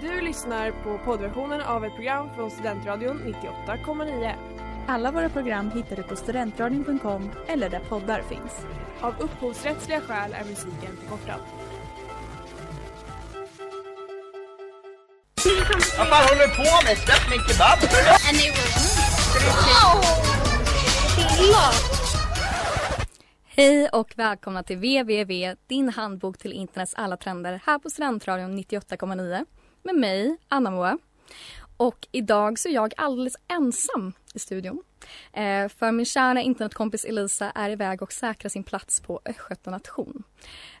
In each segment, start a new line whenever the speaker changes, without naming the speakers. Du lyssnar på poddversionen av ett program från Studentradion 98,9.
Alla våra program hittar du på studentradion.com eller där poddar finns.
Av upphovsrättsliga skäl är musiken förkortad.
Vad fan håller du på med? Släpp min kebab!
and they were Wow!
Hej och välkomna till www, din handbok till internets alla trender här på Studentradion 98,9 med mig, Anna-Moa. Och idag så är jag alldeles ensam i studion. Eh, för min kära internetkompis Elisa är iväg och säkrar sin plats på Östgöta nation.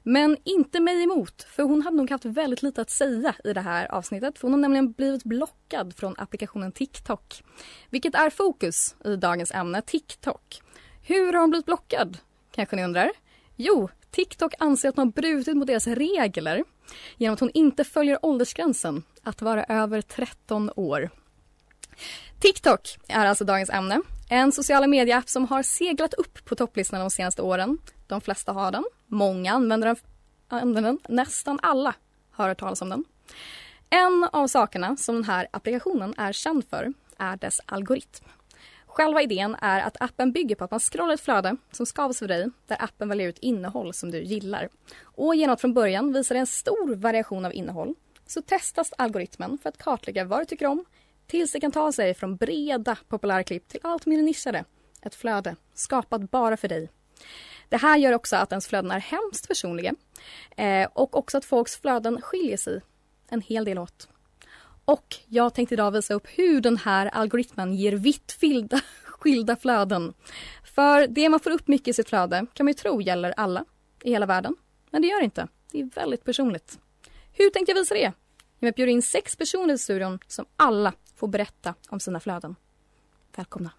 Men inte mig emot, för hon hade nog haft väldigt lite att säga i det här avsnittet. För hon har nämligen blivit blockad från applikationen TikTok. Vilket är fokus i dagens ämne, TikTok. Hur har hon blivit blockad? Kanske ni undrar? Jo, TikTok anser att hon har brutit mot deras regler genom att hon inte följer åldersgränsen att vara över 13 år. TikTok är alltså dagens ämne. En sociala medieapp som har seglat upp på topplistan de senaste åren. De flesta har den. Många använder den. Använder den. Nästan alla har hört talas om den. En av sakerna som den här applikationen är känd för är dess algoritm. Själva idén är att appen bygger på att man scrollar ett flöde som skavs för dig där appen väljer ut innehåll som du gillar. Och genom att från början visa dig en stor variation av innehåll så testas algoritmen för att kartlägga vad du tycker om tills det kan ta sig från breda populära klipp till allt mer nischade. Ett flöde skapat bara för dig. Det här gör också att ens flöden är hemskt personliga eh, och också att folks flöden skiljer sig en hel del åt. Och jag tänkte idag visa upp hur den här algoritmen ger vitt skilda, skilda flöden. För det man får upp mycket i sitt flöde kan man ju tro gäller alla i hela världen. Men det gör det inte. Det är väldigt personligt. Hur tänkte jag visa det? Jag bjuder in sex personer i studion som alla får berätta om sina flöden. Välkomna.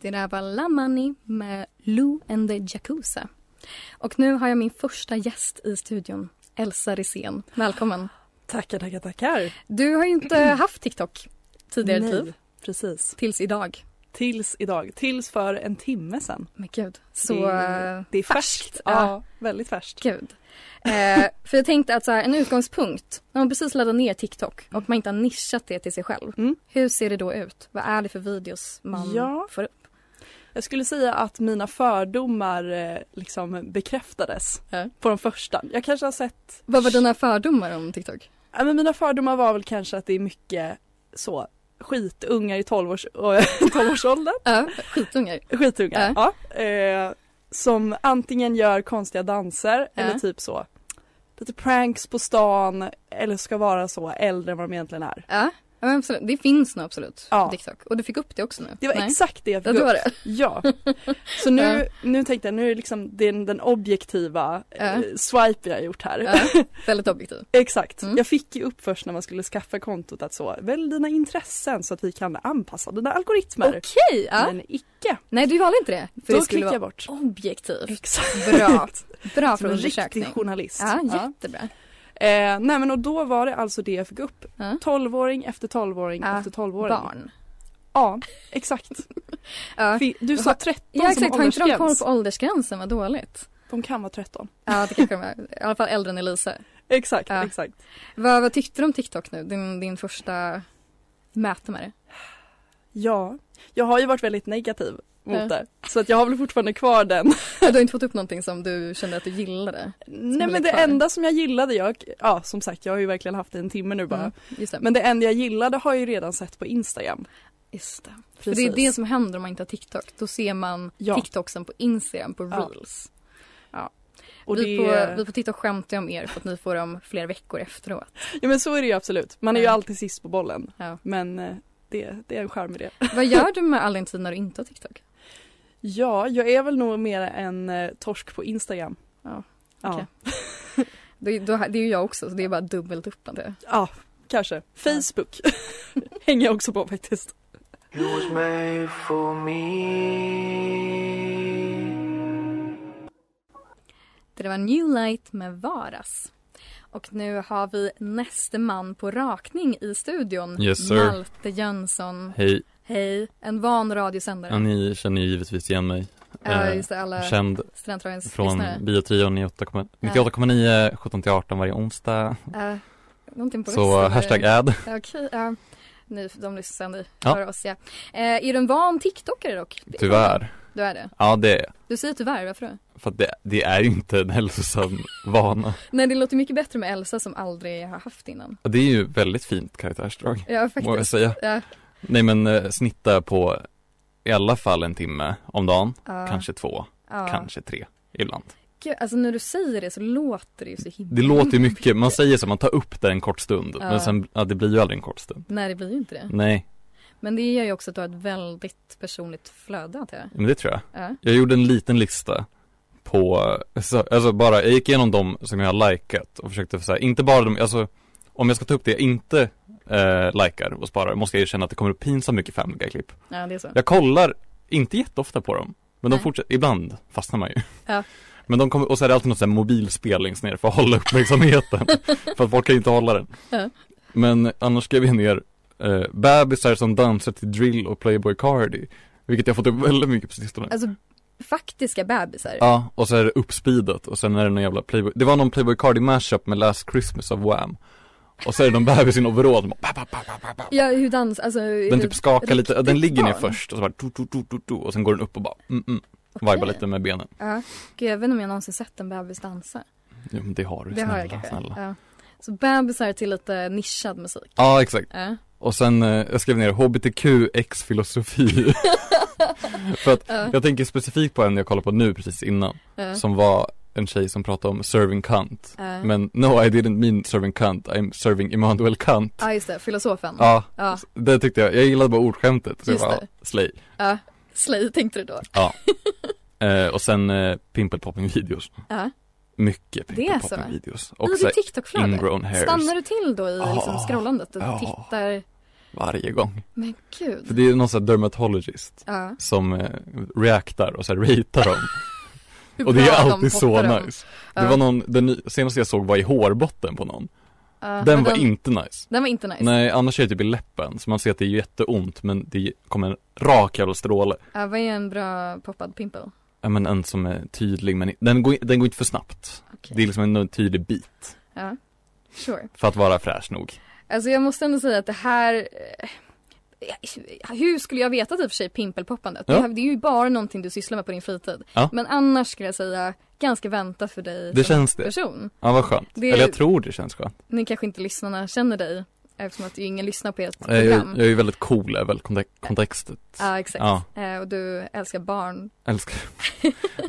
Det där var Lamani med Lou and the Jacuzza. Och nu har jag min första gäst i studion, Elsa Risen. Välkommen.
Tackar, tackar, tackar.
Du har ju inte haft TikTok tidigare i ditt
Nej,
liv,
Precis.
tills idag.
Tills idag. Tills för en timme sedan.
Men gud, så
det, är-
eh,
det är färskt. Ja,
Ja,
väldigt färskt.
gud. Eh, för jag tänkte att så här, en utgångspunkt, när man precis laddar ner TikTok och man inte har nischat det till sig själv.
Mm.
Hur ser det då ut? Vad är det för videos man
Ja.
får upp?
Jag skulle säga att mina fördomar eh, liksom bekräftades
Ja.
på de första. Jag kanske har sett,
Vad var dina fördomar om TikTok?
ja, men mina fördomar var väl kanske att det är mycket så skitungar i 12-års, 12-årsåldern.
Ja, skitungar.
Skitungar, ja. Eh, som antingen gör konstiga danser eller
Ja.
typ så lite pranks på stan eller ska vara så äldre än vad de egentligen är.
Ja, ja, men absolut. det finns nog absolut
Ja.
TikTok. Och du fick upp det också nu?
Det var
Nej.
exakt det jag
Ja,
fick
det
upp.
var det.
Ja. Så
Ja.
nu, nu tänkte jag, nu är det liksom den, den objektiva eh,
Ja.
swipe jag har gjort här.
Ja, väldigt objektiv.
Exakt.
Mm.
Jag fick ju upp först när man skulle skaffa kontot att så, välj dina intressen så att vi kan anpassa dina algoritmer.
Okej, ja.
Men icke.
Nej du valde inte det. För
Då
det skulle
klickar
vara
jag bort.
objektivt.
Exakt.
Bra. Bra för
Som en riktig
undersökning.
journalist.
Ja,
Ja.
jättebra.
Eh, nej men och då var det alltså det jag fick upp.
Ja.
12-åring efter 12-åring
Ja,
efter 12-åring.
Barn.
Ja, exakt.
Ja,
Fi- Du sa 13
ja
som
exakt. Har inte de koll
åldersgräns.
på åldersgränsen? Vad dåligt.
De kan vara 13.
Ja, det kanske de är. I alla fall äldre än Elisa.
Exakt,
Ja.
exakt.
Vad, vad tyckte du om TikTok nu? Din, din första möte med det.
Ja, jag har ju varit väldigt negativ mot
Ja.
det. Så att jag har väl fortfarande kvar den.
Du har inte fått upp någonting som du kände att du gillade?
Nej
ligger
men det
kvar.
enda som jag gillade, jag, ja som sagt jag har ju verkligen haft det en timme nu bara.
Mm, just det.
Men det enda jag gillade har jag ju redan sett på Instagram.
Just det. För det är det som händer om man inte har TikTok. Då ser man
Ja.
TikToksen på Instagram, på
Ja.
reels.
Och
vi,
det,
på, vi på TikTok skämtar om er för att ni får dem flera veckor efteråt.
Ja men så är det ju absolut, man är ju
Ja.
alltid sist på bollen.
Ja.
Men eh, det, det är en charm i det.
Vad gör du med all din tid när du inte har TikTok?
Ja, jag är väl nog mer en eh, torsk på Instagram.
Ja,
Ja,
okej. Det, då, det är ju jag också så det är bara dubbelt upp antar jag.
ja kanske. Facebook hänger jag också på faktiskt.
You was made for me.
Det där var New Light med Varas. Och nu har vi näste man på rakning i studion.
Yes, sir.
Malte Jönsson.
Hej,
Hej, en van radiosändare.
Ja, ni känner ju givetvis igen mig.
Ja,
Eh,
just det, alla
Känd
Studentradions
från
lyssnare.
Biotrion 98,9, 98,9, 17 till 18 varje onsdag.
Uh, någonting på
Så
resten,
hashtag
eller?
ad.
Ja, Okej, ja. Nu, de lyssnar sen nu,
Ja.
för oss ja. Eh, är du en van TikTokare dock?
Tyvärr.
Du är det?
Ja, det är
Du säger tyvärr, varför då?
för att det, det är ju inte en hälsosam vana.
Nej, det låter mycket bättre med Elsa som aldrig har haft innan.
Och Det är ju väldigt fint karaktärsdrag,
Ja,
må jag
faktiskt.
säga.
Ja,
Nej men eh, snitta på i alla fall en timme om dagen,
ja,
kanske två,
ja.
kanske tre ibland.
Gud, alltså när du säger det så låter det ju så himla...
Det låter ju mycket, man säger så, man tar upp det en kort stund,
Ja.
men sen, ja det blir ju aldrig en kort stund.
Nej, det blir ju inte det.
Nej,
Men det gör ju också att du har ett väldigt personligt flöde, antar jag.
men det tror jag.
Ja.
Jag gjorde en liten lista på, så, alltså bara, jag gick igenom de som jag har likat och försökte så här, inte bara de, alltså om jag ska ta upp det jag inte eh, likar och sparar måste jag erkänna att det kommer upp pinsamt mycket Family Guy-klipp.
ja, det är så.
Jag kollar, inte jätteofta på dem, men de
Nej.
fortsätter, ibland fastnar man ju.
Ja.
Men de kommer, och så är det alltid något så här mobilspel längst ner för att hålla uppmärksamheten. för att folk kan ju inte hålla den.
Ja.
Men annars skrev jag ner eh, bebisar som dansar till drill och Playboy Cardi. Vilket jag fått upp väldigt mycket på sistone.
Alltså, faktiska bebisar.
Ja, och så är det uppspeedat och sen är det någon jävla Playboy, det var någon Playboy Cardi mashup med Last Christmas av Wham Och så är det någon bebis i en overall som bara, pa, pa, pa, pa, pa.
Ja, hur dans, alltså...
Den typ skakar lite,
riktigt
den ligger ner
barn?
först och så bara tu, tu, tu, tu, tu, och sen går den upp och bara mm, mm, vibar lite med benen
Ja. Gud, jag vet inte om jag någonsin sett en bebis dansa.
Jo men det har du,
Det
snälla,
har jag kanske.
snälla.
Ja. Så bebisar till lite nischad musik.
Ja exakt,
Ja.
och sen, eh, jag skrev ner hbtqx-filosofi För att
Ja.
jag tänker specifikt på en jag kollade på nu precis innan
Ja.
Som var en tjej som pratade om serving Kant
Ja.
Men no I didn't mean serving Kant, I'm serving Immanuel Kant
Ja, just det. Filosofen.
Ja,
Ja.
det tyckte jag. Jag gillade bara ordskämtet. Så jag
Just
bara,
det.
slay.
Slay tänkte du då.
Eh, och sen eh, videos.
Ja.
Mycket
Det är typ så.
pimpelpopping videos.
I
Och så
ditt
här
TikTok-flöde.
ingrown hairs Ah.
Stannar du till då i
Ja.
liksom, scrollandet och
Ja.
tittar?
varje gång.
Men
För
gud.
det är någon sån här dermatologist
Ja.
som eh, reactar och så här ratear dem.
Hur
och det är
bra de
alltid så
poppar dem.
nice.
Ja.
Det var någon, den ny- senaste jag såg var i hårbotten på någon.
Ja, men
Den var inte nice.
Den var inte nice.
Nej, annars är det typ i läppen, så man ser att det är jätteont men det kommer en rak jävla stråle.
Ja, vad är en bra poppad pimple?
Ja men en som är tydlig men den går, den går inte för snabbt.
Okej.
Det är liksom en, en tydlig bit
Ja, sure.
för att vara fräsch nog.
Alltså jag måste ändå säga att det här eh, hur skulle jag veta typ för sig pimpelpoppandet?
Ja.
Det, här, det är ju bara någonting du sysslar med på din fritid.
Ja.
Men annars skulle jag säga ganska väntat för dig
Det
som
känns det.
person.
Ja vad skönt.
Liksom. Det-
Eller jag tror det känns skönt.
Nu kanske inte lyssnarna känner dig eftersom att ju ingen lyssnar på ert
Jag, är ju-
program.
jag är ju väldigt cool är väl konte- kontextet.
Ja exakt.
Ja.
Eh, och du älskar barn.
Älskar.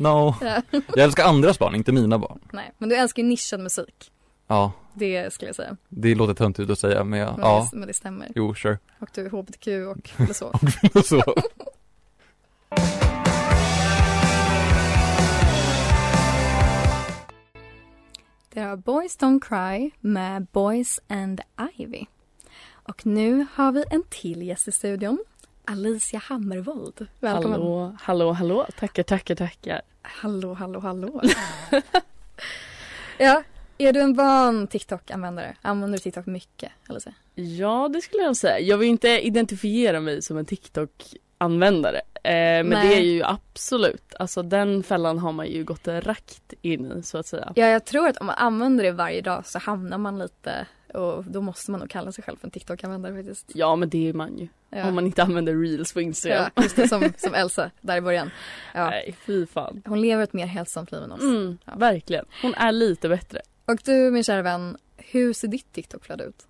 No.
Ja.
Jag älskar andras barn, inte mina barn.
Nej, men du älskar ju nischad musik.
Ja.
Det skulle jag säga.
Det låter töntigt att säga men jag,
Men,
ja.
det, men det stämmer.
Jo sure.
Och du är HBTQ och filosof.
Så.
Det var Boys Don't Cry med Boys and Ivy. Och nu har vi en till gäst i studion. Alicia Hammervold. Välkommen.
Hallå, hallå, hallå. Tackar, tackar, tackar.
hallå, hallå. hallå. ja, är du en van TikTok-användare? Använder du TikTok mycket, Alicia?
Ja, det skulle jag säga. Jag vill inte identifiera mig som en TikTok-användare. Eh, men
Nej.
det är ju absolut, alltså den fällan har man ju gått rakt in i så att säga.
Ja, jag tror att om man använder det varje dag så hamnar man lite och då måste man nog kalla sig själv för en TikTok-användare faktiskt.
Ja, men det är man ju.
Ja.
Om man inte använder reels på Instagram.
ja, just det, som, som Elsa där i början. Ja.
Nej, fy fan.
Hon lever ett mer hälsosamt liv än oss.
Mm,
Ja.
Verkligen. Hon är lite bättre.
Och du min kära vän, hur ser ditt TikTok-flöde ut?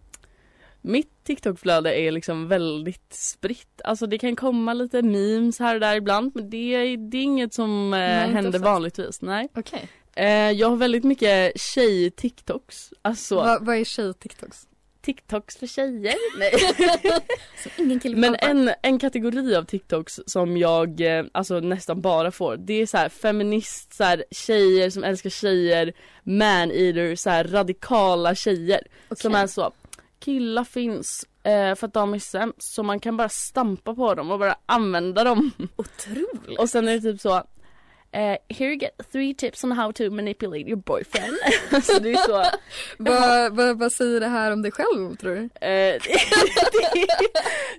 Mitt TikTok-flöde är liksom väldigt spritt. Alltså det kan komma lite memes här och där ibland men det är, det är inget som eh,
Nej, inte
händer
oftast.
vanligtvis. Nej.
Okej.
Eh, jag har väldigt mycket tjej-tiktoks. Alltså
Va- Vad är tjej-tiktoks?
tiktoks för tjejer.
Som ingen kille
Men
fattar.
en, en kategori av tiktoks som jag eh, alltså nästan bara får det är så här feminist, så här, tjejer som älskar tjejer, man-eater, så här radikala tjejer.
Okej.
Som är så, killar finns eh, för att de är sämst så man kan bara stampa på dem och bara använda dem.
otroligt.
Och sen är det typ så, eh, here you get three tips on how to manipulate your boyfriend. så det är så,
Vad vad- vad säger det här om dig själv tror du?
eh, det,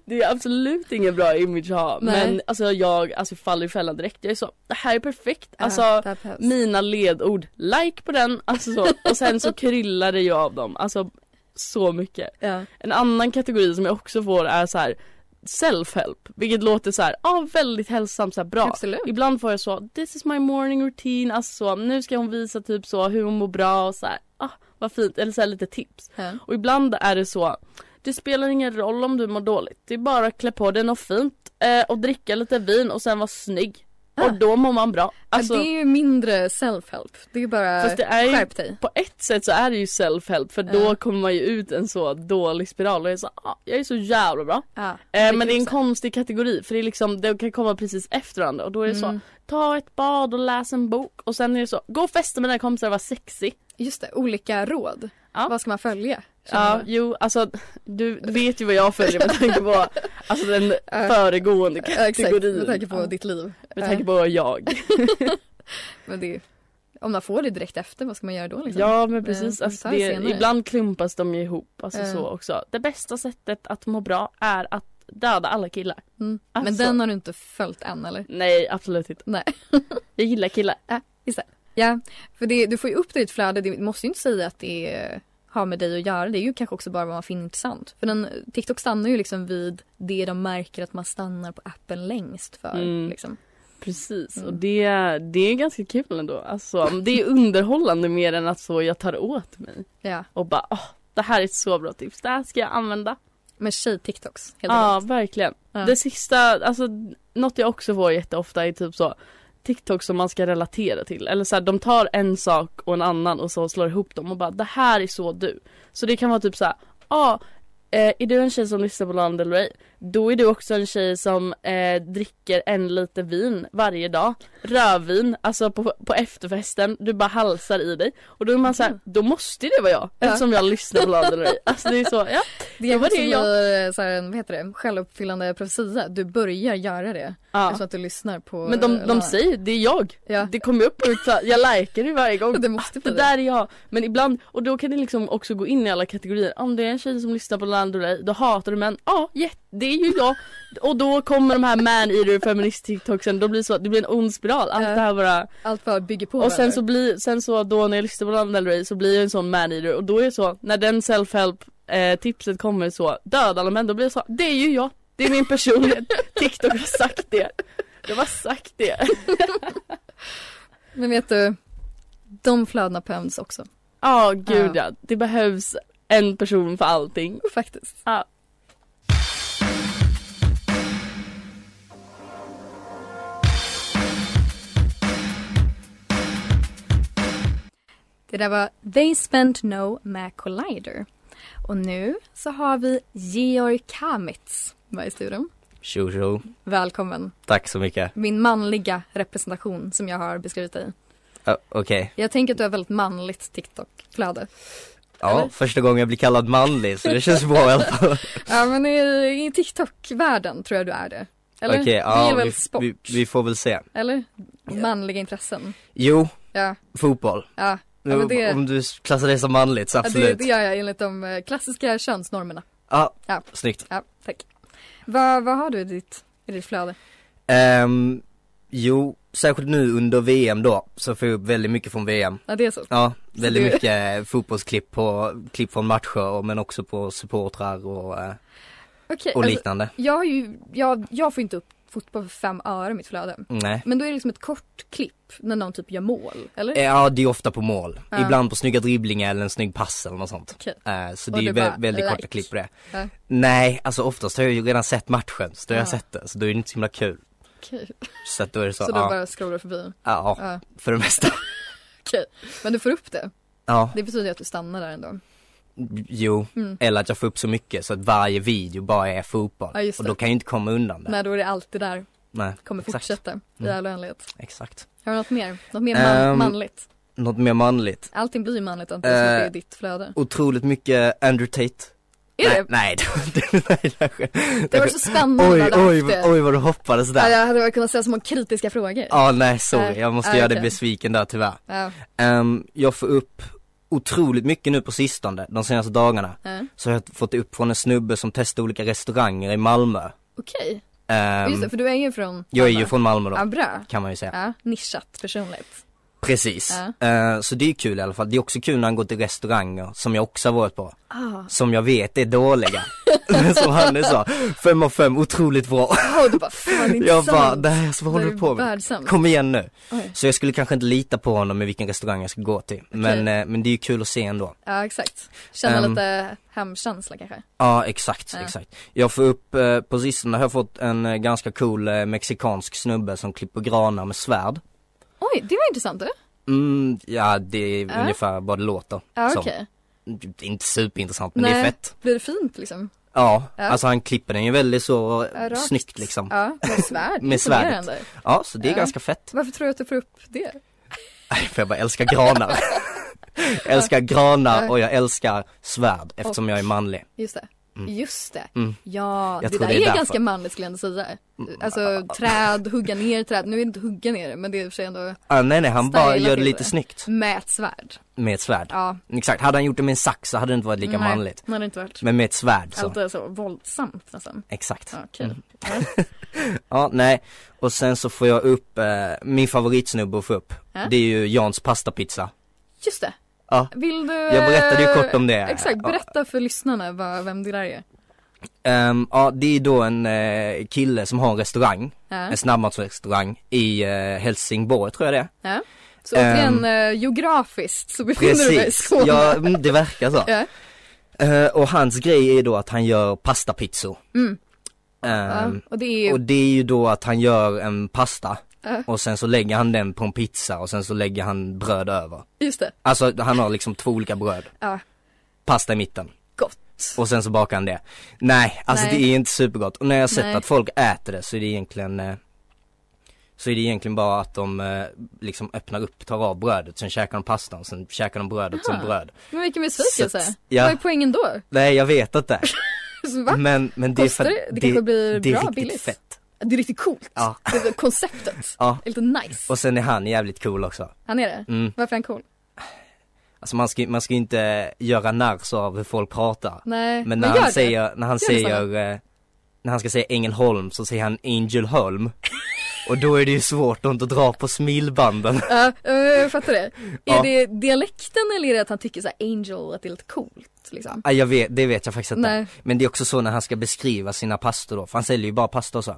det är absolut ingen bra image att ha.
Nej.
Men alltså jag alltså, faller i fällan direkt. Jag är så, det här är perfekt. Alltså
Ja, det här behövs.
mina ledord, like på den. Alltså så. Och sen så kryllar det ju av dem. Alltså så mycket.
ja.
En annan kategori som jag också får är så här self-help, vilket låter så här, ah, väldigt hälsosamt, så här, bra.
Absolut.
Ibland får jag så, this is my morning routine, alltså så, nu ska hon visa typ så hur hon mår bra och så här, ah, vad fint, eller så här lite tips.
Ja.
Och ibland är det så, det spelar ingen roll om du mår dåligt, det är bara att klä på dig något fint eh, och dricka lite vin och sen vara snygg.
Ah.
Och då mår man bra. Alltså,
det är ju mindre self-help. Det är ju bara
Fast det är ju-
skärp dig.
på ett sätt så är det ju self-help för
Ja.
då kommer man ju ut en så dålig spiral och jag är så, ah, jag är så jävla bra.
Ja.
Eh, men det är en konstig kategori för det är liksom, de kan komma precis efter varandra och då är det så
Mm.
Ta ett bad och läs en bok och sen är det så, gå och festa med dina kompisar och var sexy.
Just det, olika råd.
Ja.
Vad ska man följa? känner
Ja,
man?
jo alltså du, du vet ju vad jag följer med tanke på alltså, den föregående
Ja, exakt,
kategorin.
med tanke på
Ja,
ditt liv.
med tanke på jag.
Men det är, om man får det direkt efter, vad ska man göra då liksom?
Ja men precis,
Eh,
alltså,
så här
det,
senare.
ibland klumpas de ju ihop. Alltså,
Eh.
så också. Det bästa sättet att må bra är att döda alla killar.
Mm.
Alltså.
Men den har du inte följt än eller?
Nej absolut inte.
Nej.
Jag gillar killar.
Ja, för det, du får ju upp det i ett flöde. Det måste ju inte säga att det är, har med dig att göra. Det är ju kanske också bara vad man finner intressant. För den, TikTok stannar ju liksom vid det de märker att man stannar på appen längst för.
Mm.
Liksom.
Precis och
Mm.
det, det är ganska kul ändå. Alltså, det är underhållande mer än att så jag tar åt mig
Ja.
och bara åh, det här är ett så bra tips, det här ska jag använda.
Men tjej-TikToks, helt
Ja
enkelt.
verkligen.
Ja.
Det sista, alltså något jag också får jätteofta är typ så TikTok som man ska relatera till eller så här, de tar en sak och en annan och så slår ihop dem och bara det här är så du. Så det kan vara typ så här, ja eh, är du en tjej som lyssnar på Lana Del Rey? Då är du också en tjej som eh, dricker en liter vin varje dag. Rödvin, alltså på, på efterfesten. Du bara halsar i dig. Och då är man så
Mm.
här, då måste det vara jag eftersom jag lyssnar på Lana Del Rey. Alltså det är så, ja.
Det är
var
också
det jag-
blir eh, så här, en- vad heter det, självuppfyllande profetia. Du börjar göra det.
ja.
Eftersom att du lyssnar på... eh,
Men de, de
Lana.
säger det är jag.
Ja.
Det kommer upp ut så här, jag likar det varje gång.
Det måste bli
Det där är jag. Men ibland, och då kan det liksom också gå in i alla kategorier. Om det är en tjej som lyssnar på Lana Del Rey, då hatar du män. Ja, jätte- det är ju jag. Och då kommer de här man eater feminist tiktoksen, då blir det så, det blir en ond spiral. Allt
Ja.
det här bara.
Allt bara bygger på
Och sen
varandra.
så blir, sen så då när jag lyssnar på Lana Del Rey så blir jag en sån man eater och då är det så, när den self-help eh, tipset kommer så, döda alla män, då blir det så, det är ju jag. Det är min personlighet. TikTok har sagt det. De har sagt det.
Men vet du, de flödena behövs också.
Ja, gud
Ja.
ja. Det behövs en person för allting.
Faktiskt.
Ja.
Det där var They Spent No med Collider. Och nu så har vi Georg Kamitz med i studion.
Tjo tjo.
Välkommen.
Tack så mycket.
Min manliga representation som jag har beskrivit dig.
Ja, Okej.
Jag tänker att du har väldigt manligt TikTok-flöde.
Ja,
Eller?
första gången jag blir kallad manlig så det känns bra i alla fall.
Ja men i, i TikTok-världen tror jag du är det. Eller?
Okej,
det är
ja,
väl
vi,
sport?
vi, vi får väl se.
Eller? Manliga intressen.
Jo,
Ja,
fotboll.
ja. Ja, men det-
Om du klassar det som manligt så
Ja, det,
absolut.
det gör jag enligt de eh, klassiska könsnormerna.
Ja,
Ja.
snyggt.
Ja, tack. Vad, vad har du i ditt, i ditt flöde?
Ehm, jo, särskilt nu under VM då så får jag upp väldigt mycket från VM.
Ja, det är så.
Ja, väldigt
det-
mycket eh, fotbollsklipp på, klipp från matcher och- men också på supportrar och, eh,
Okej,
och
alltså,
liknande.
jag, har ju, jag, jag får inte upp fotboll för fem öre i mitt flöde.
Nej.
Men då är det liksom ett kort klipp när någon typ gör mål, eller?
Eh, Ja, det är ofta på mål.
Ja.
Ibland på snygga dribblingar eller en snygg pass eller något sånt.
Okej.
Eh, så
Och
det är
du
ju
bara,
vä- väldigt
like.
korta klipp på det.
Ja.
Nej, alltså oftast har jag ju redan sett matchen, så då har jag
Ja.
sett det. Så då är det inte så himla kul.
Okej.
Så att då är det så,
Så du
ja,
bara scrollar förbi.
ja, ja,
Ja.
för det mesta.
Men du får upp det.
Ja,
Det betyder ju att du stannar där ändå.
jo.
Mm.
Eller att jag får upp så mycket så att varje video bara är fotboll.
Ja, just
och
det.
då kan jag ju inte komma undan det.
Nej, då är det alltid där.
Nej,
Kommer
Exakt.
fortsätta i
Mm.
all oändlighet.
exakt.
Har du något mer? Något mer man-
Ehm.
manligt?
Något mer manligt.
Allting blir ju manligt antagligen, uh, det är
Eh.
ditt flöde.
Otroligt mycket Andrew Tate.
Är
nej,
det?
nej, det, nej, det, det,
Det var så spännande
Oj,
att
oj,
haft det.
oj vad du hoppades
Ja,
där. Ja,
jag hade bara kunnat ställa så många kritiska frågor.
nej sorry,
Nej.
jag måste
Ja,
göra dig
okej.
besviken där tyvärr.
Ja.
Ehm, jag får upp otroligt mycket nu på sistone, de senaste dagarna.
Ja.
Så jag har fått upp från en snubbe som testar olika restauranger i Malmö.
Okej,
Ehm,
just det, för du är ju från
jag är ju
Malmö.
från Malmö då,
Ja, bra.
kan man ju säga.
Ja, nischat personligt.
Precis. Eh, så det är kul i alla fall. Det är också kul när han går till restauranger som jag också har varit på.
Ah.
Som jag vet är dåliga. som han sa, fem av fem, otroligt bra.
Oh, du bara, fan det är inte
Jag bara,
sant.
det här, vad håller du på med?
Världsamt.
Kom igen nu.
Oj.
Så jag skulle kanske inte lita på honom med vilken restaurang jag ska gå till. Men, eh, men det är ju kul att se ändå.
Ja, exakt. Känna
Ehm.
lite hemkänsla kanske.
Ja, exakt,
Ja.
exakt. Jag får upp, eh, på sistone har jag fått en eh, ganska cool eh, mexikansk snubbe som klipper granar med svärd.
Oj, det var intressant du.
Mm, ja det är
Ja.
ungefär vad det låter
Ja,
som.
okej.
Det är Inte superintressant men det är
Nej.
fett.
Blir det fint liksom?
Ja,
Ja.
alltså han klipper den ju väldigt så
Ja, rakt.
snyggt liksom. Ja.
Ja, med svärd.
Med svärdet.
Imponerande.
så det är
Ja.
ganska fett.
Varför tror du att du får upp det?
Nej, För jag bara älskar granar. jag älskar granar
Ja.
och jag älskar svärd eftersom
Och-
jag är manlig.
Just det. Just det.
Mm.
Ja,
Jag
det
tror
där
det är
är,
därför.
ganska manligt skulle jag ändå säga. Alltså träd, hugga ner träd. Nu är det inte hugga ner det, men det är i och för sig ändå
Ah, nej nej, han
Styla
bara gör det
till
lite
det.
snyggt
med ett svärd.
med ett svärd.
Ja.
Exakt, hade han gjort det med en sax så hade det inte varit lika
Nej, Alltså.
manligt.
Det hade inte varit.
Men med ett svärd så.
Allt är så våldsamt nästan.
Exakt.
Ja, kul.
Mm. Ja, nej. Och sen så får jag upp, eh, min favoritsnubbe att få upp.
Ja.
Det är ju Jans pastapizza.
Just det.
Ja.
Vill du...
Jag berättade ju kort om det.
Eh, Exakt,
Ja.
berätta för lyssnarna vad, vem det där är.
Ehm, ja, det är då en eh, kille som har en restaurang,
Ja.
en snabbmatsrestaurang i eh, Helsingborg tror jag det är.
Så återigen,
Ehm,
eh, geografiskt så befinner du dig i
Precis,
Skåne.
ja, mm, det verkar så.
Ja.
Eh, och hans grej är då att han gör pastapizzor.
Mm.
Ehm,
ja, och det är ju,
Och det är ju då att han gör en pasta
Ja.
och sen så lägger han den på en pizza och sen så lägger han bröd över.
just det,
Alltså han har liksom två olika bröd.
Ja.
Pasta i mitten.
gott.
Och sen så bakar han det. Nej, alltså
Nej.
det är inte supergott. Och när jag har sett
Nej.
att folk äter det så är det egentligen eh, Så är det egentligen bara att de eh, liksom öppnar upp, tar av brödet, sen käkar de pastan, sen käkar de brödet,
Jaha.
sen bröd.
Men vilken besvikelse.
Så- ja.
Vad är poängen då?
Nej jag vet inte.
Så, va?
Men, men det är
Kostar
för
det? Det kanske blir
det är
bra,
riktigt
billigt.
fett.
Det är riktigt coolt.
Ja.
Det är konceptet.
Ja.
Det är lite nice.
Och sen är han jävligt cool också.
Han är det.
Mm.
Varför är han cool?
Alltså man ska, man ska ju inte göra narr så av hur folk pratar.
Nej,
Men när
gör
han
det.
säger, när han
Gör det, Sanna.
säger, eh, när han ska säga Ängelholm så säger han Angelholm. Och då är det ju svårt att inte dra på smilbanden.
Ja, eh, jag fattar det.
Ja.
Är det dialekten eller är det att han tycker så här angel, att det är lite coolt liksom?
Ah, jag vet, det vet jag faktiskt inte.
Nej.
Men det är också så när han ska beskriva sina pastor då, för han säljer ju bara pasta och så.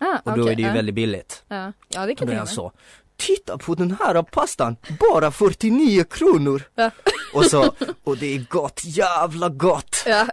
Ah,
Och då
okej,
är det ju
ja.
väldigt billigt.
Ja, ja det
Då
kan
blir
jag
han
tänka mig.
så, titta på den här pastan, bara 49 kronor!
Ja.
Och så, och det är gott, jävla gott!
Ja.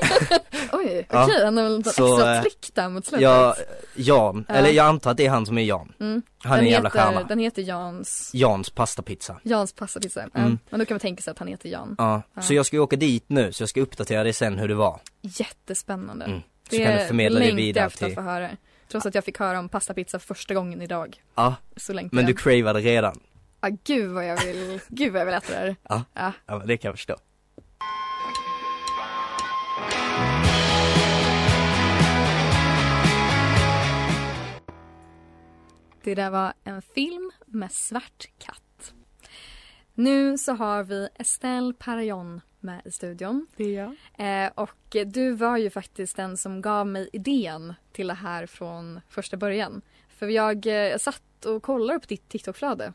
Oj, okej,
Ja.
han har väl något
Så,
extra
eh,
trick där mot slutet.
Ja, Jan,
Ja.
eller jag antar att det är han som är Jan.
Mm.
Han är en jävla
heter,
stjärna.
Den heter Jans,
Jans pastapizza.
Jans passapizza. Ja,
Mm.
Men då kan man tänka sig att han heter Jan.
Ja, så jag ska ju åka dit nu så jag ska uppdatera dig sen hur det var.
Jättespännande.
Mm. Så kan du förmedla det
längtar jag
vidare
efter att
till,
få höra. Trots att jag fick höra om pastapizza första gången idag.
ja,
Så längtar
men du
jag.
cravade redan.
Ah, gud vad jag vill, gud vad jag vill äta det här.
Ja, men det kan jag förstå.
Det där var en film med svart katt. Nu så har vi Estelle Parajon med i studion.
Det är jag.
Eh, och du var ju faktiskt den som gav mig idén till det här från första början. För jag eh, satt och kollade upp ditt TikTok-flöde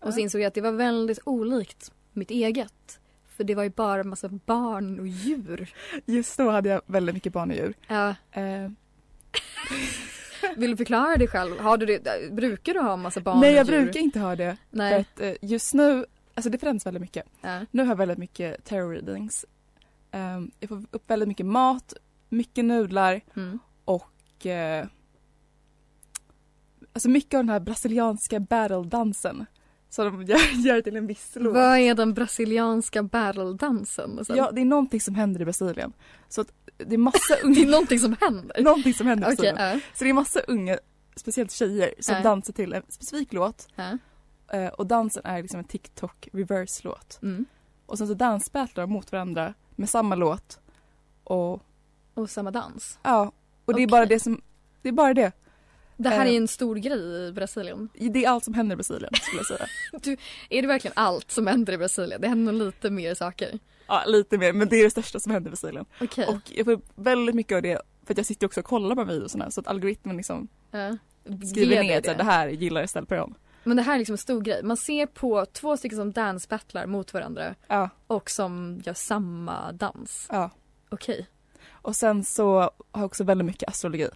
och så insåg jag att det var väldigt olikt mitt eget. För det var ju bara en massa barn och djur.
Just då hade jag väldigt mycket barnedjur.
Eh,
Eh,
vill du förklara dig själv? Har du det, eh, brukar du ha en massa barn
nej jag
och djur?
brukar inte ha det. För
Nej,
att, eh, just nu, alltså det förändras väldigt mycket.
ja.
Nu har jag väldigt mycket tarot readings. Eh, jag får upp väldigt mycket mat, mycket nudlar
mm.
och eh, alltså mycket av den här brasilianska battle-dansen. Så de gör, gör till en viss låt.
Vad är den brasilianska barreldansen? Alltså,
Ja, det är någonting som händer i Brasilien. Så att det är
Det
massa
är
unga,
någonting som händer.
någonting som händer i
Okej,
Brasilien.
ja.
Så det är massa unga, speciellt tjejer, som
Ja.
dansar till en specifik låt
ja,
Eh, och dansen är liksom en TikTok reverse-låt.
mm.
Och sen så dansbattlar de mot varandra med samma låt. och
Och samma dans.
ja, och det är bara det som, det är bara det.
Det här
Eh.
är ju en stor grej i Brasilien.
Det är allt som händer i Brasilien skulle jag säga.
Är det verkligen allt som händer i Brasilien? Det händer nog lite mer saker.
Ja lite mer men det är det största som händer i Brasilien.
Okej.
Och jag får väldigt mycket av det för att jag sitter ju också och kollar på de här videorna så att algoritmen liksom
Ja.
skriver
eh, Ger
ner
dig
att det. det här gillar Estelle Perón.
Men det här är liksom en stor grej. Man ser på två stycken som dansbattlar mot varandra
Ja,
och som gör samma dans.
ja.
Okej.
Och sen så har jag också väldigt mycket astrologi.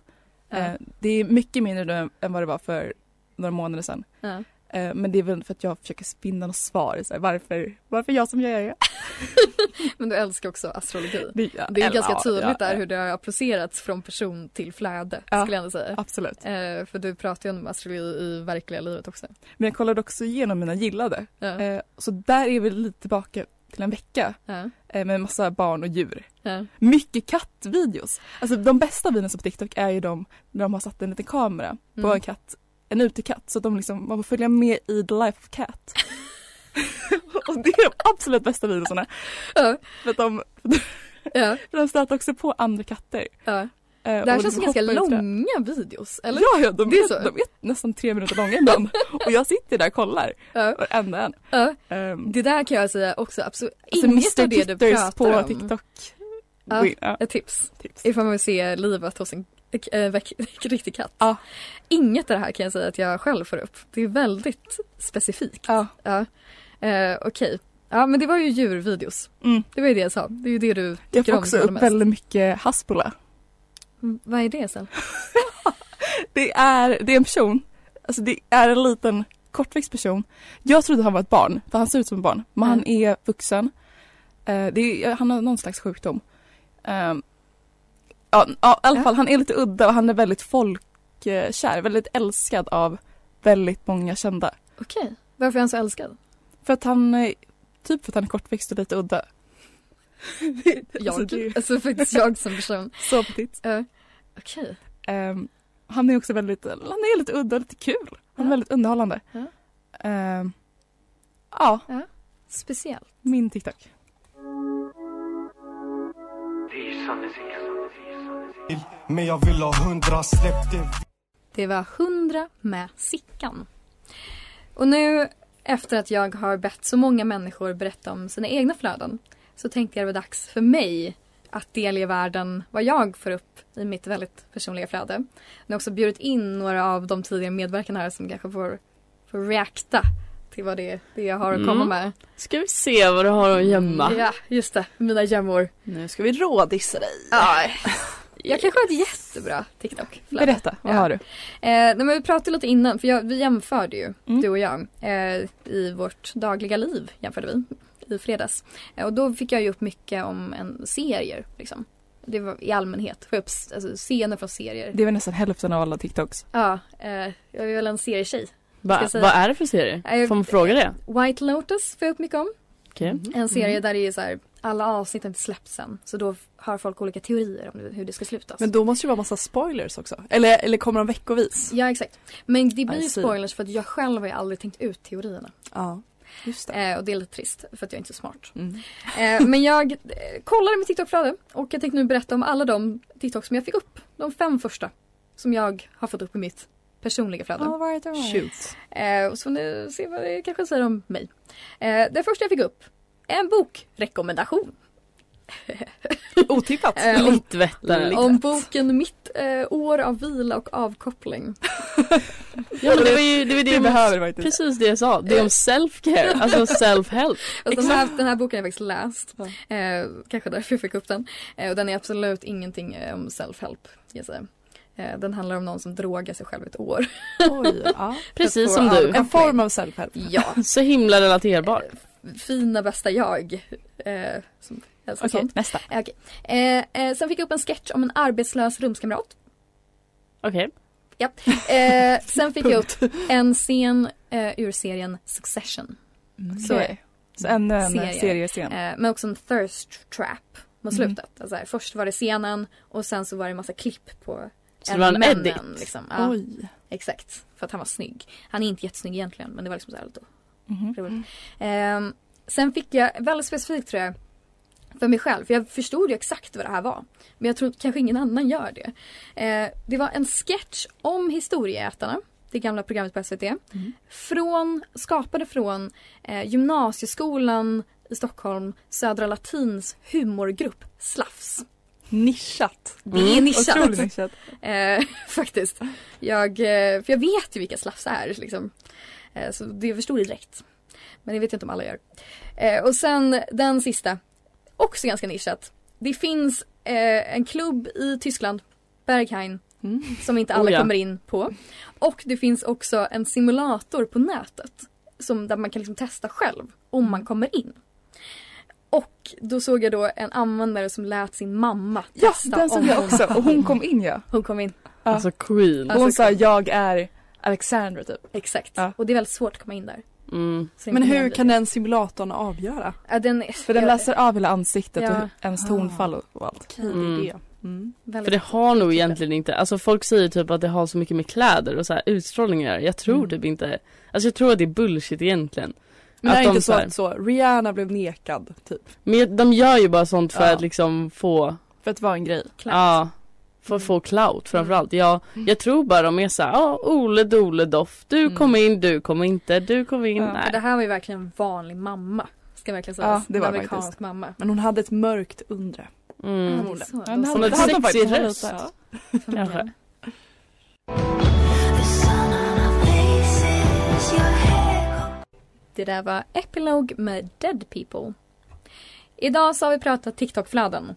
Ja.
Eh, det är mycket mindre nu än- än vad det var för några månader sedan.
Ja.
Eh, men det är väl för att jag försöker spinna något svar. Så här, varför, varför jag som jag är?
Men du älskar också astrologi.
Det,
Det är ju ganska tydligt
ja,
där hur det har applicerats från person till fläde
Ja.
skulle jag ändå säga.
Absolut.
Eh, för du pratar ju om astrologi i verkliga livet också.
Men jag kollade också igenom mina gillade.
Ja.
Eh, så där är vi lite tillbaka till en vecka
Ja.
eh, med massa barn och djur.
Ja. Mm.
Mycket kattvideos. Alltså de bästa videorna på TikTok är ju de när de har satt en liten kamera på
Mm.
en katt, en utekatt så att de liksom, man får följa med i the life of cat. och det är de absolut bästa videorna.
Ja.
För att de,
Ja.
för de stöter också på andra katter.
Ja.
Eh, och
Det här
de
känns som ganska
hoppar ut där.
långa videos. Eller?
Ja, ja de,
Det är
är,
så.
de är nästan tre minuter långa ibland. och jag sitter där och kollar
Ja.
varenda en.
Ja.
Um,
Det där kan jag säga också absolut
alltså
inget av
Mr
det du
Titters på
pratar om.
TikTok.
Ja.
Gå in, ja,
Ett tips.
tips.
Ifall man vill se livet hos en äh, riktig katt.
Ja.
Inget av det här kan jag säga att jag själv får upp. Det är väldigt specifikt.
Ja.
Ja. Eh, Okej. Ja men det var ju djurvideos.
Mm.
Det var ju det jag sa. Det är ju det du
Jag
tycker
får
om
också
allra
upp
mest.
väldigt mycket Hasbula.
Mm, Vad är det sen?
Det är, det är en person, alltså det är en liten kortväxt person. Jag trodde han var ett barn, för han ser ut som ett barn. Men
Mm.
han är vuxen. Eh, det är, han har någon slags sjukdom. Ehm, ja, ja, i alla
Ja.
fall han är lite udda och han är väldigt folkkär, väldigt älskad av väldigt många kända.
Okej. Varför är han så älskad?
För att han, eh, typ för att han är kortväxt och lite udda.
Jag.
Alltså, det
Alltså,
är
faktiskt jag som person.
så petit.
Ja. Okej.
Ehm, han är också väldigt, han är lite udda och lite kul. Han
Ja.
är väldigt underhållande.
Ja.
Ehm, ja,
Speciellt.
min TikTok.
Men jag vill ha hundra, släpp det
Det var 100 med Sickan. Och nu efter att jag har bett så många människor berätta om sina egna flöden så tänkte jag det var dags för mig att delge världen vad jag får upp i mitt väldigt personliga flöde. Jag har också bjudit in några av de tidigare medverkarna här som kanske får, får reacta till vad det är det jag har att komma
Mm.
med.
Ska vi se vad du har
Mm,
att gömma.
Ja, just det. Mina gömmor.
Nu ska vi rådissa dig.
Ja. Jag kanske har ett jättebra TikTok-flöde.
Berätta, vad
Ja.
har du?
Eh, nej, men vi pratade lite innan, för jag, vi jämförde ju,
Mm.
du och jag, eh, i vårt dagliga liv jämförde vi i fredags. Eh, och då fick jag ju upp mycket om en serier, liksom. Det var i allmänhet, får jag upp s- alltså, scener från serier.
Det var nästan hälften av alla TikToks.
Ja, eh, jag är väl en serietjej.
Va,
Ska jag säga-
Vad är det för serie?
Eh,
Får man fråga det?
White Lotus får jag upp mycket om.
Okej.
Mm. En serie
Mm.
Mm.
där det är så här, alla avsnitt har inte släppts än. Så då har folk olika teorier om hur det ska slutas.
Men då måste det vara massa spoilers också. Eller, eller kommer de veckovis?
Ja exakt. Men det blir
I
ju
see.
spoilers för att jag själv har ju aldrig tänkt ut teorierna.
Ja, just det.
Eh, och det är lite trist för att jag är inte så smart.
Mm.
Eh, men jag eh, kollade mitt TikTok-flöde och jag tänkte nu berätta om alla de TikTok som jag fick upp. De fem första som jag har fått upp i mitt personliga flöde.
right,
Shoot.
Eh, och så får ni se vad det kanske säger om mig. Eh, det första jag fick upp, en bokrekommendation.
Otippat.
Äh,
Eh, om,
Littvättare.
liksom.
om boken Mitt eh, år av vila och avkoppling.
Ja men det var ju det, var det,
Det
om-
behöver man inte.
Precis det jag sa, det är om self-care, alltså self-help.
Alltså den, här, den här boken har jag faktiskt läst. Eh, kanske därför jag fick upp den. Eh, och den är absolut ingenting eh, om self-help. ska Jag säga. Eh, den handlar om någon som drogar sig själv ett år.
Oj, ja.
Precis som du.
En form av self-help.
Ja,
Så himla relaterbar.
fina bästa jag. Eh, som älskar
Okej,
sånt.
nästa.
Eh, okej. eh, eh, sen fick jag upp en sketch om en arbetslös rumskamrat.
Okej.
Eh, sen fick jag upp en scen eh, ur serien Succession. Så är Mm. det.
Så ännu en
Serie.
serie. seriescen.
Eh, men också en thirst trap
Mhm.
mot slutet. Alltså här, först var det scenen och sen så var det en massa klipp på
Så det var en
männen,
edit.
Liksom. Ja,
Oj.
exakt, för att han var snygg. Han är inte jättesnygg egentligen men det var liksom så här lite
Mhm.
roligt. Ehm, sen fick jag, väldigt specifikt tror jag, för mig själv. För jag förstod ju exakt vad det här var. Men jag tror kanske ingen annan gör det. Eh, det var en sketch om Historieätarna, det gamla programmet på SVT.
Mm.
Från, skapade från eh, gymnasieskolan i Stockholm, Södra Latins humorgrupp Slafs.
Nischat.
Det är
Mm,
nischat.
otroligt nischat.
Eh, faktiskt. Jag, eh, för jag vet ju vilka slafs är liksom. Eh, så det förstod jag direkt. Men det vet jag inte om alla gör. Eh, och sen den sista. Också ganska nischat. Det finns eh, en klubb i Tyskland, Berghain, som inte alla
Oh ja.
kommer in på. Och det finns också en simulator på nätet som, där man kan liksom testa själv om man kommer in. Och då såg jag då en användare som lät sin mamma
Ja,
testa
den
om
som jag
hon-
också. Och hon kom in ja.
Hon kom in.
Alltså queen.
Hon
Alltså,
sa jag är Alexandra typ.
Exakt. Och det är väldigt svårt att komma in där.
Mm.
Så det
Men
är inte
hur
möjligt.
kan den simulatorn avgöra?
Ja, den,
För den
jag-
läser av hela ansiktet
Ja.
och ens tonfall och och allt.
Okej, det är det. Mm.
För
väldigt-
det har nog egentligen inte, alltså folk säger typ att det har så mycket med kläder och så här utstrålningar. Jag tror typ inte, alltså jag tror att det är bullshit egentligen.
Men det är
att
det
de
inte så,
här-
att så Rihanna blev nekad typ?
Men de gör ju bara sånt för
Ja.
att liksom få,
För att vara en grej.
Clout.
ja, för att få clout framförallt. Ja, jag tror bara de är så här, ja, Ole Dole Doff, du
Mm.
kom in, du kom inte, du kom in,
Ja.
För det
nej.
här var ju verkligen en vanlig mamma. Ska verkligen sägas.
Ja, det var
en
det
amerikansk
faktiskt.
mamma.
Men hon hade ett mörkt undre.
Mm.
Ja, det är så.
Ja, det
Hon har
det hade
en
hon
sexig
faktiskt.
röst.
Ja.
Kanske.
Det där var Epilog med Dead People. Idag så har vi pratat TikTok-flöden.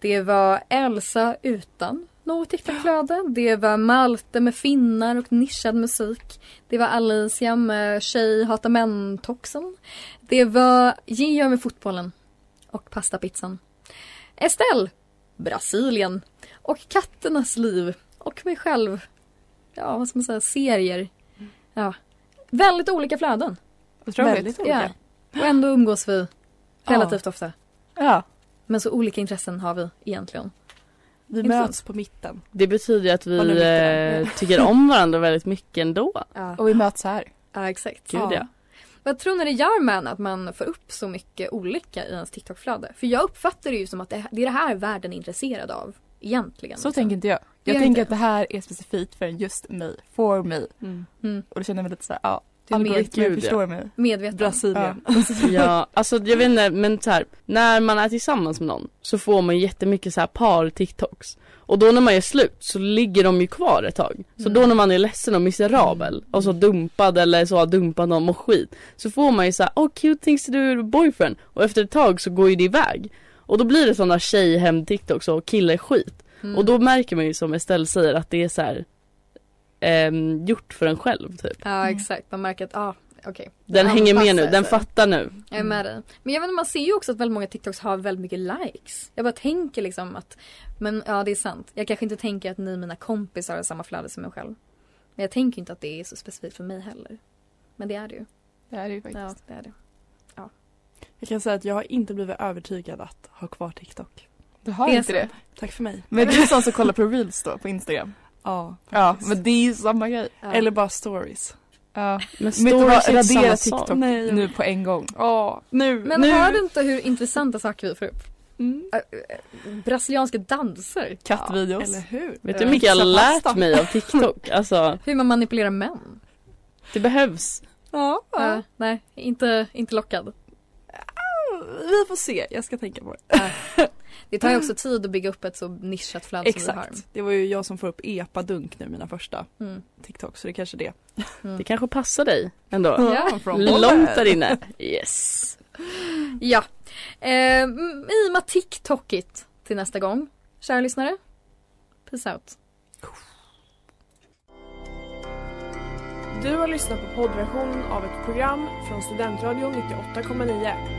Det var Elsa utan något TikTok-flöde. Det var Malte med finnar och nischad musik. Det var Alicia med tjej hatar män-toxen. Det var Gio med fotbollen och pastapizzan. Estelle, Brasilien och katternas liv och mig själv. Ja, vad ska man säga, serier. Ja. Väldigt olika flöden.
Otroligt.
Ja. Och ändå umgås vi relativt ofta.
Ja.
Men så olika intressen har vi egentligen.
Vi
Inte
möts på mitten.
Det betyder ju att
Och nu
vi
mitt i den.
eh, tycker om varandra väldigt mycket ändå.
Ja,
Och vi möts här.
ja exakt.
Gud ja.
Vad tror ni det gör med en att man får upp så mycket olika i ens TikTok-flöde? För jag uppfattar det ju som att det det är det här världen är intresserad av. Egentligen.
Så
liksom.
tänker inte jag.
Gör
Jag tänker
inte.
att det här är specifikt för just mig. For mig.
Mm.
Och då känner jag mig lite såhär, ja.
Du är med,
Algoritmer
Gud, ja.
förstår mig.
medveten.
Ja.
Brasilien.
Ja, alltså jag vet inte men så här, när man är tillsammans med någon så får man jättemycket så här par TikToks. Och då när man är slut så ligger de ju kvar ett tag. Så
Mm.
då när man är ledsen och miserabel och så dumpad eller så har dumpat någon och skit. Så får man ju så här, oh cute things to do with your boyfriend. Och efter ett tag så går ju det iväg. Och då blir det sådana tjejhem TikToks och kille skit.
Mm.
Och då märker man ju som Estelle säger att det är så här ehm, gjort för en själv typ.
Ja exakt, man märker att ah, okej.
Den hänger med nu,
anpassar
den
sig.
fattar nu.
Jag är med dig. Men jag vet, inte, man ser ju också att väldigt många TikToks har väldigt mycket likes. Jag bara tänker liksom att, men ja det är sant. Jag kanske inte tänker att ni mina kompisar har samma flöde som jag själv. Men jag tänker inte att det är så specifikt för mig heller. Men det är det ju.
Det är det ju faktiskt.
Ja, det är det.
Jag kan säga att jag har inte blivit övertygad att ha kvar TikTok.
Du har
Det är
inte
så.
det.
Tack för mig.
Men du är sån som kollar på reels då på Instagram.
Ja.
Ja, men det är ju samma grej.
Ja.
Eller bara stories.
Ja.
Men
Men inte bara
stories är inte samma
radera
sak.
TikTok
Nej.
nu på en gång.
Ja, nu,
men
nu.
hör du inte hur intressanta saker vi får upp?
Mm.
Äh, äh, Brasilianska danser.
Kattvideos.
Eller hur?
Vet
Eh,
du hur mycket jag har lärt mig av TikTok? Alltså,
Hur man manipulerar män.
det behövs.
Ja, ja.
Ja, nej, inte, inte lockad.
Vi får se, jag ska tänka på det.
Det tar ju också tid att bygga upp ett så nischat flöde som vi har.
Exakt. Det var ju jag som får upp epadunk nu, mina första
Mm.
TikTok, så det är kanske det.
Det kanske passar dig ändå.
Ja.
Mm.
Långt där inne. Yes.
Ja. Ehm, I och med TikTokigt till nästa gång, kära lyssnare. Peace out.
Du har lyssnat på poddversionen av ett program från Studentradion 98,9.